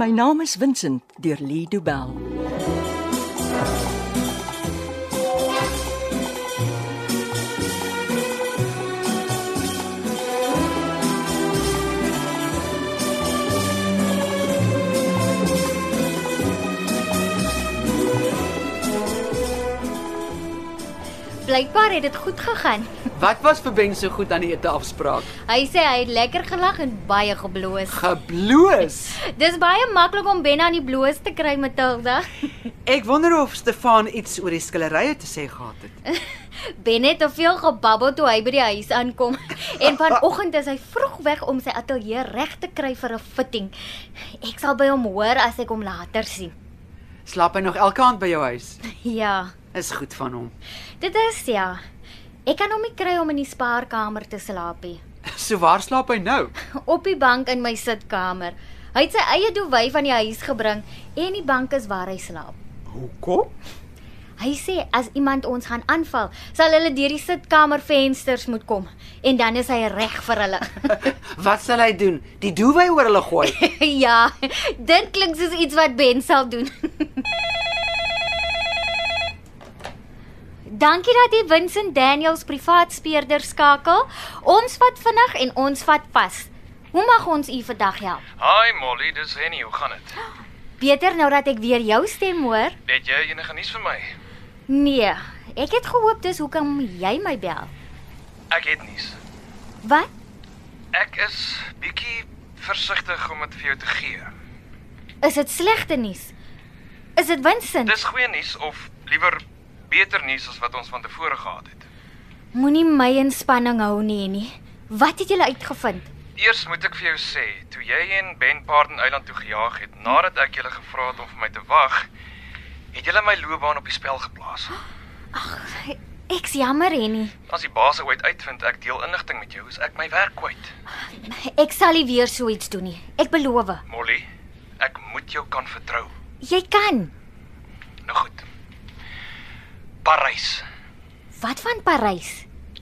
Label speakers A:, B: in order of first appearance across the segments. A: My naam is Vincent deur Lee Du Bell.
B: Blykbaar het dit goed gegaan.
C: Wat was vir Ben so goed aan die ete afspraak?
B: Hy sê hy het lekker gelag en baie gebloos.
C: Gebloos.
B: Dis baie maklik om Ben aan die bloos te kry, Matilda.
C: Ek wonder of Stefan iets oor die skillerye te sê gehad het.
B: Ben het te veel gebabbel toe hy by die huis aankom en vanoggend is hy vroeg weg om sy ateljee reg te kry vir 'n fitting. Ek sal by hom hoor as ek hom later sien.
C: Slaap hy nog elke aand by jou huis?
B: Ja,
C: Is goed van hom.
B: dit is ja. Ek kan hom nie kry om in die spaarkamer te slaap nie.
C: So waar slaap hy nou?
B: Op die bank in my sitkamer. Hy het sy eie doewy van die huis gebring en die bank is waar hy slaap.
C: Hoekom?
B: Hy sê as iemand ons gaan aanval, sal hulle deur die sitkamervensters moet kom en dan is hy reg vir hulle.
C: Wat sal hy doen? Die doewy oor hulle gooi.
B: ja, dit klink soos iets wat Ben sal doen. Dankie dat jy Vincent Daniels privaat speurder skakel. Ons vat vinnig en ons vat vas. Hoe mag ons u vandag help?
D: Hi Molly, dis Henny. Hoe gaan dit?
B: Beter nou dat ek weer jou stem hoor.
D: Het jy enige nuus vir my?
B: Nee, ek het gehoop dis hoekom jy my bel.
D: Ek het nuus.
B: Wat?
D: Ek is bietjie versigtig om dit vir jou te gee.
B: Is dit slegte nuus? Is dit Vincent?
D: Dis goeie nuus of liewer beter nuus as wat ons van tevore gehad het.
B: Moenie my in spanning hou nie nie. Wat het julle uitgevind?
D: Eers moet ek vir jou sê, toe jy en Ben Paarden Eiland toe gejaag het nadat ek julle gevra het om vir my te wag, het julle my loopbaan op die spel geplaas.
B: Ek's jammer, Henny.
D: As die baas ooit uitvind ek deel inligting met jou, is ek my werk kwyt.
B: Ek sal nie weer so iets doen nie. Ek beloof.
D: Molly, ek moet jou kan vertrou.
B: Jy kan.
D: Nou goed. Parys.
B: Wat van Parys?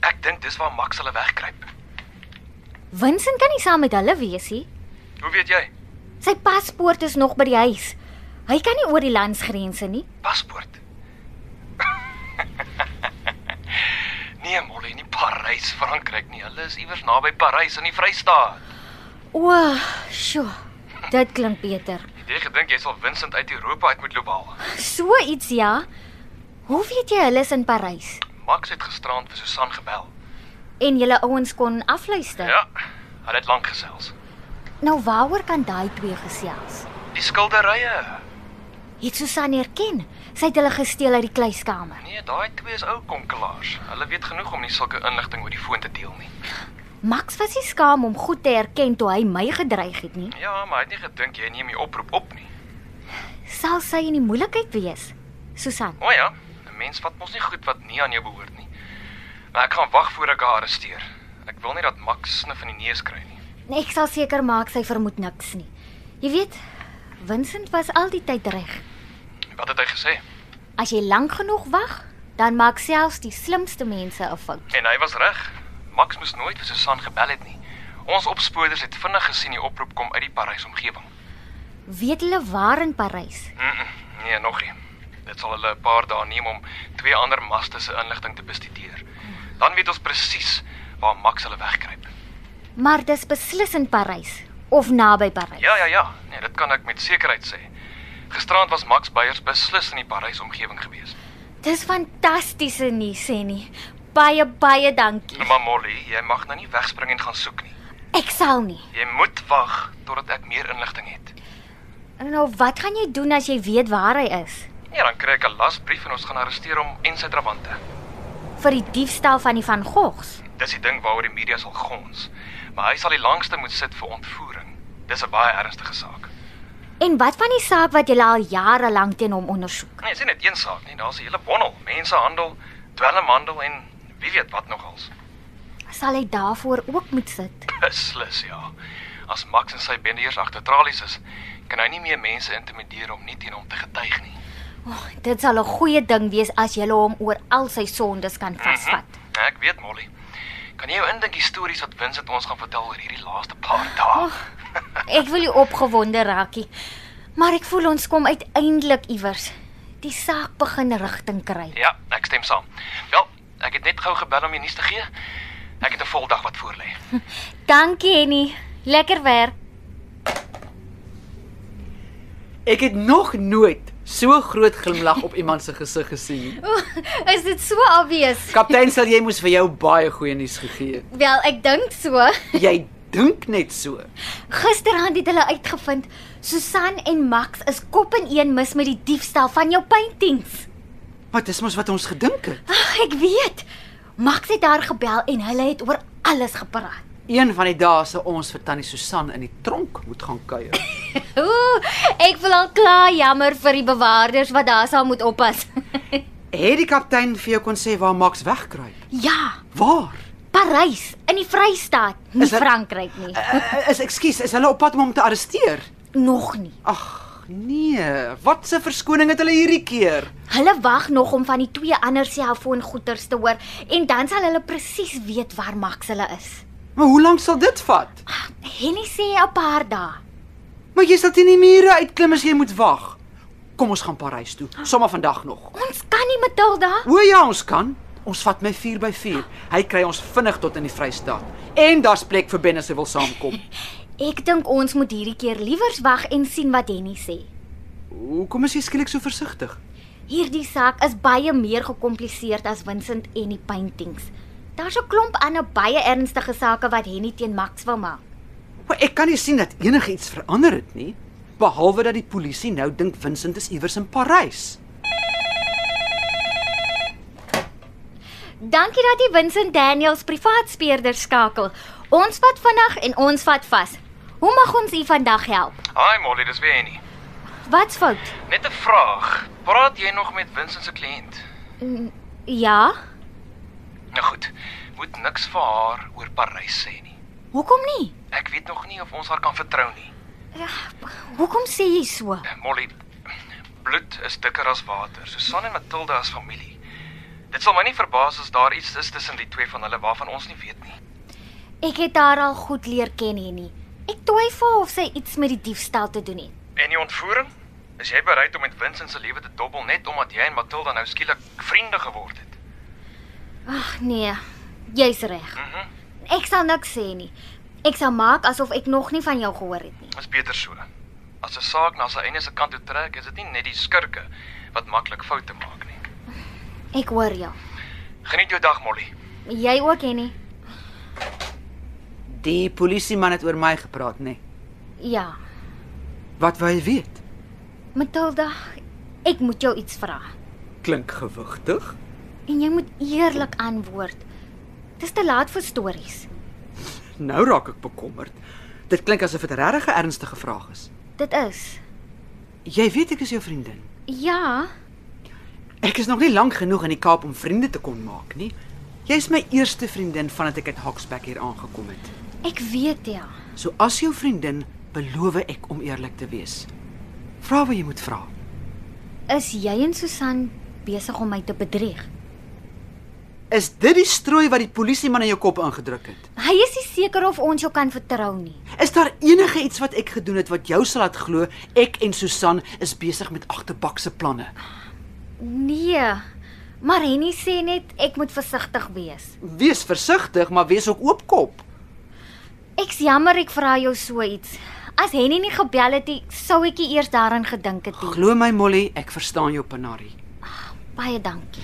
D: Ek dink dis waar Max hulle wegkruip.
B: Vincent kan nie saam met hulle wees nie.
D: Hoe weet jy?
B: Sy paspoort is nog by die huis. Hy kan nie oor die landsgrense nie.
D: Paspoort. nee, Molly, nie Parys, Frankryk nie. Hulle is iewers naby Parys in die Vrystaat.
B: O, sjoe. Dit klink beter.
D: Het jy gedink jy sal Vincent uit Europa uit moet loop haal?
B: So iets ja. Hoe weet jy hulle is in Parys?
D: Max het gisteraand vir Susan gebel.
B: En julle ouens kon afluister.
D: Ja, hulle het lank gesels.
B: Nou waaroor kan daai twee gesels?
D: Die skilderye.
B: Het Susan herken. Sy het hulle gesteel uit die kluiskamer.
D: Nee, daai twee is ou konkelaars. Hulle weet genoeg om nie sulke inligting oor die foon te deel nie.
B: Max was nie skaam om goed te herken toe hy my gedreig het nie.
D: Ja, maar hy het nie gedink jy neem die oproep op nie.
B: Sal sy in die moeilikheid wees? Susan,
D: O ja, 'n mens vat mos nie goed wat nie aan jou behoort nie. Maar ek gaan wag voor ek haar arresteer. Ek wil nie dat Max snif in die neus kry nie.
B: nee, ek sal seker maak sy vermoed niks nie. Jy weet, Vincent was al die tyd reg.
D: Wat het hy gesê?
B: As jy lank genoeg wag, dan maak selfs die slimste mense 'n fout.
D: En hy was reg. Max moes nooit vir Susan gebel het nie. Ons opsporers het vinnig gesien die oproep kom uit die Parys omgewing.
B: Weet hulle waar in Parys?
D: Mm -mm, nee, nog nie. Dit sal hulle 'n paar dae neem om twee ander maste se inligting te bestudeer. Dan weet ons presies waar Max hulle wegkruip.
B: Maar dis beslis in Parys of naby Parys.
D: Ja, ja, ja. Nee, dit kan ek met sekerheid sê. Gisterand was Max Beyers beslis in die Parys omgewing gewees.
B: Dis fantastiese nuus, Henny. Baie baie dankie.
D: Maar Molly, jy mag nou nie wegspring en gaan soek nie.
B: Ek sal nie.
D: Jy moet wag totdat ek meer inligting het.
B: Nou, wat gaan jy doen as jy weet waar hy is?
D: Ja, dan kry ek 'n lasbrief en ons gaan arresteer hom en sy trawante.
B: Vir die diefstal van die Van Goghs.
D: Dis die ding waaroor die media sal gons, maar hy sal die langste moet sit vir ontvoering. Dis 'n baie ernstige saak.
B: En wat van die saak wat julle al jare lank teen hom ondersoek?
D: Nee, dis nie net een saak nie, daar's 'n hele bondel, mensehandel, dwelmhandel en wie weet wat nog als.
B: Sal hy daarvoor ook moet sit?
D: Beslis ja. As Max en sy bendeers agter tralies is, kan hy nie meer mense intimideer om nie teen hom te getuig nie.
B: Oh, dit sal 'n goeie ding wees as julle hom oor al sy sondes kan vasvat.
D: Ja, ek weet Molly. Kan jy jou indink die stories wat Vincent ons gaan vertel oor hierdie laaste paar dae?
B: Ek wil nie opgewonde raak nie. Maar ek voel ons kom uiteindelik iewers. Die saak begin rigting kry.
D: Ja, ek stem saam. Wel, ek het net gou gebel om jou nuus te gee. Ek het 'n vol dag wat voor lê.
B: Dankie Henny. Lekker werk.
C: Ek het nog nooit so groot glimlag op iemand se gesig gesien nie.
B: Oeh, is dit so obvious?
C: Kaptein, sal jy moes vir jou baie goeie nuus gegee het.
B: Wel, ek dink so.
C: Jy dink net so.
B: Gisterand het hulle uitgevind Susan en Max is kop in een mis met die diefstal van jou paintings.
C: Maar dis mos wat ons gedink het.
B: Ag, ek weet. Max het haar gebel en hulle het oor alles gepraat.
C: Een van die dae sal ons vir tannie Susan in die tronk moet gaan kuier.
B: Ooh, ek voel al klaar jammer vir die bewaarders wat daar sal moet oppas.
C: Het die kaptein vir jou kon sê waar Max wegkruip?
B: ja,
C: Waar?
B: Parys in die Vrystaat, nie
C: Is dit-
B: Frankryk nie.
C: Uh, is ekskuus, is hulle op pad om hom te arresteer?
B: Nog nie.
C: Ag, nee. Wat 'n verskoning het hulle hierdie keer?
B: Hulle wag nog om van die twee ander selfoongoeters te hoor en dan sal hulle presies weet waar Max hulle is.
C: Maar hoe lank sal dit vat?
B: Henny sê 'n paar dae.
C: Maar jy sal teen die mure uitklim as jy moet wag. Kom ons gaan Parys toe, sommer vandag nog.
B: Ons kan nie Matilda.
C: O ja, ons kan. Ons vat my 4 by 4. Hy kry ons vinnig tot in die Vrystaat. En daar's plek vir Ben as hy wil saamkom.
B: Ek dink ons moet hierdie keer liewers wag en sien wat Henny sê.
C: Hoekom is jy skielik so versigtig?
B: Hierdie saak is baie meer gekompliseerd as Vincent en die paintings. Daar's 'n klomp ander baie ernstige sake wat Henny teen Max wil maak.
C: Maar ek kan nie sien dat enigiets verander het nie, behalwe dat die polisie nou dink Vincent is iewers in Parys.
B: Dankie dat jy Vincent Daniels privaat speurder skakel. Ons vat vinnig en ons vat vas. Hoe mag ons u vandag help?
D: Haai Molly, dis weer Annie.
B: Wat's fout?
D: Net 'n vraag. Praat jy nog met Vincent se kliënt?
B: Ja,
D: Nou goed. Moet niks vir haar oor Parys sê nie.
B: hoekom nie?
D: Ek weet nog nie of ons haar kan vertrou nie. Eh,
B: Hoekom sê jy so?
D: Molly, bloed is dikker as water. Susan en Matilda is familie. Dit sal my nie verbaas as daar iets is tussen die twee van hulle waarvan ons nie weet nie.
B: Ek het haar al goed leer ken hier nie. Ek twyfel of sy iets met die diefstal te doen het.
D: En die ontvoering? Is jy bereid om met Vincent se lewe te dobbel net omdat jy en Matilda nou skielik vriende geword het?
B: Ag nee, jy's reg.
D: Mhm. Mm
B: Ek sal niks sê nie. Ek sal maak asof ek nog nie van jou gehoor het nie.
D: Dis beter so. As 'n saak na sy einde se kant toe trek, is dit nie net die skurke wat maklik foute maak nie.
B: Ek hoor jou.
D: Geniet jou dag, Molly.
B: Jy ook, Henny?
C: Die polisieman het oor my gepraat, nê? Nee.
B: Ja.
C: Wat wou hy weet?
B: Matilda, ek moet jou iets vra
C: Klink gewigtig.
B: en jy moet eerlik antwoord. Dis te laat vir stories.
C: Nou raak ek bekommerd. Dit klink asof dit regtig 'n ernstige vraag is.
B: Dit is.
C: Jy weet ek is jou vriendin.
B: Ja,
C: Ek is nog nie lank genoeg in die Kaap om vriende te kon maak nie. Jy's my eerste vriendin vandat ek uit Hawksback hier aangekom het.
B: ek weet ja.
C: So as jou vriendin, beloof ek om eerlik te wees. Vra wat jy moet vra.
B: Is jy en Susan besig om my te bedrieg?
C: Is dit die strooi wat die polisieman in jou kop ingedruk het?
B: Hy is nie seker of ons jou kan vertrou nie.
C: Is daar enige iets wat ek gedoen het wat jou sal laat glo ek en Susan is besig met agterbakse planne?
B: Nee. Maar Henny sê net ek moet versigtig wees.
C: Wees versigtig, maar wees ook oopkop.
B: Ek's jammer ek vra jou so iets. As Henny nie gebel het nie, sou ek nie eers daaraan gedink het nie.
C: Glo my Molly, ek verstaan jou panarie.
B: Baie dankie.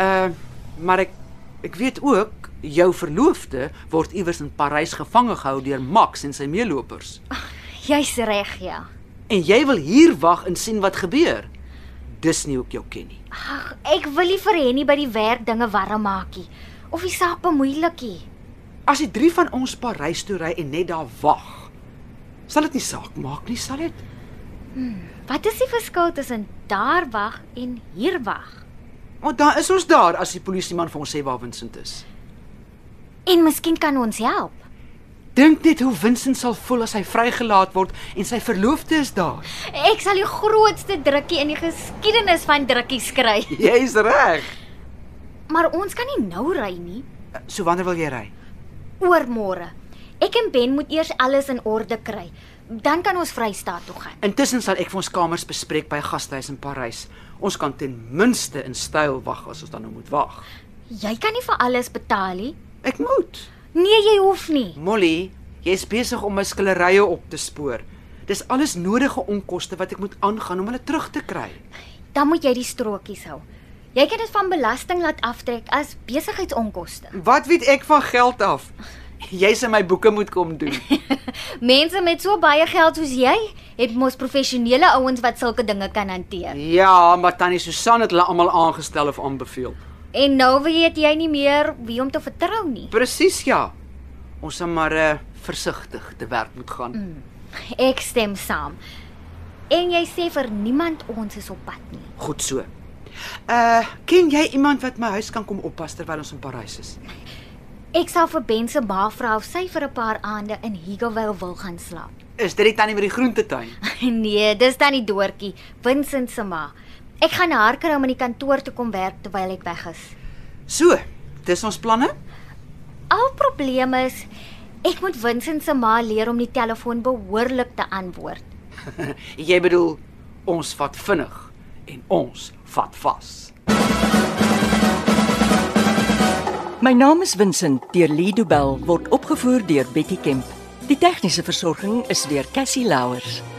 C: Uh, maar ek ek weet ook jou verloofde word iewers in Parys gevange gehou deur Max en sy meelopers.
B: Jy's reg, ja.
C: En jy wil hier wag en sien wat gebeur. Dis nie ook jou ken nie.
B: Ag, ek wil nie vir Henny by die werk dinge warm maak nie of die saak bemoeilikie.
C: As die drie van ons Parys toe ry en net daar wag, sal dit nie saak maak nie, sal dit?
B: Wat is die verskil tussen daar wag en hier wag?
C: Want daar is ons daar as die polisieman vir ons sê waar Vincent is.
B: En miskien kan ons help.
C: Dink net hoe Vincent sal voel as hy vrygelaat word en sy verloofde is daar.
B: Ek sal die grootste drukkie in die geskiedenis van drukkies kry.
C: Jy's reg.
B: Maar ons kan nie nou ry nie,
C: So wanneer wil jy ry?
B: oor môre. Ek en Ben moet eers alles in orde kry. dan kan ons Vrystaat toe gaan.
C: Intussen sal ek vir ons kamers bespreek by gasthuis in Parys. Ons kan ten minste in styl wag as ons dan nou moet wag.
B: Jy kan nie vir alles betaal nie.
C: Ek moet.
B: Nee, jy hoef nie.
C: Molly, jy's besig om my skillerye op te spoor. Dis alles nodige onkoste wat ek moet aangaan om hulle terug te kry.
B: Dan moet jy die strokies hou. Jy kan dit van belasting laat aftrek as besigheidsonkoste.
C: Wat weet ek van geld af? Jy's in my boeke moet kom doen.
B: Mense met so baie geld soos jy het mos professionele ouens wat sulke dinge kan hanteer.
C: Ja, maar tannie Susan het hulle almal aangestel of aanbeveel.
B: En nou weet jy nie meer wie om te vertrou nie.
C: Presies ja. Ons moet maar uh, versigtig te werk moet gaan. Mm.
B: Ek stem saam. En jy sê vir niemand ons is op pad nie.
C: Goed so. Uh, ken jy iemand wat my huis kan kom oppas terwyl ons in Parys is?
B: Ek sal vir Ben se ma vra of sy vir 'n paar aande in Higgoville wil gaan slaap.
C: Is dit die tannie met die groentetuin?
B: Nee, dis dan die doortjie, Vincent se ma. Ek gaan haar kry om in die kantoor te kom werk terwyl ek weg is.
C: So, dis ons planne.
B: Al probleem is ek moet Vincent se ma leer om die telefoon behoorlik te antwoord.
C: jy bedoel ons vat vinnig en ons vat vas.
A: My naam is Vincent deur Lido Bell word opgevoer deur Betty Kemp. Die tegniese versorging is deur Cassie Louers.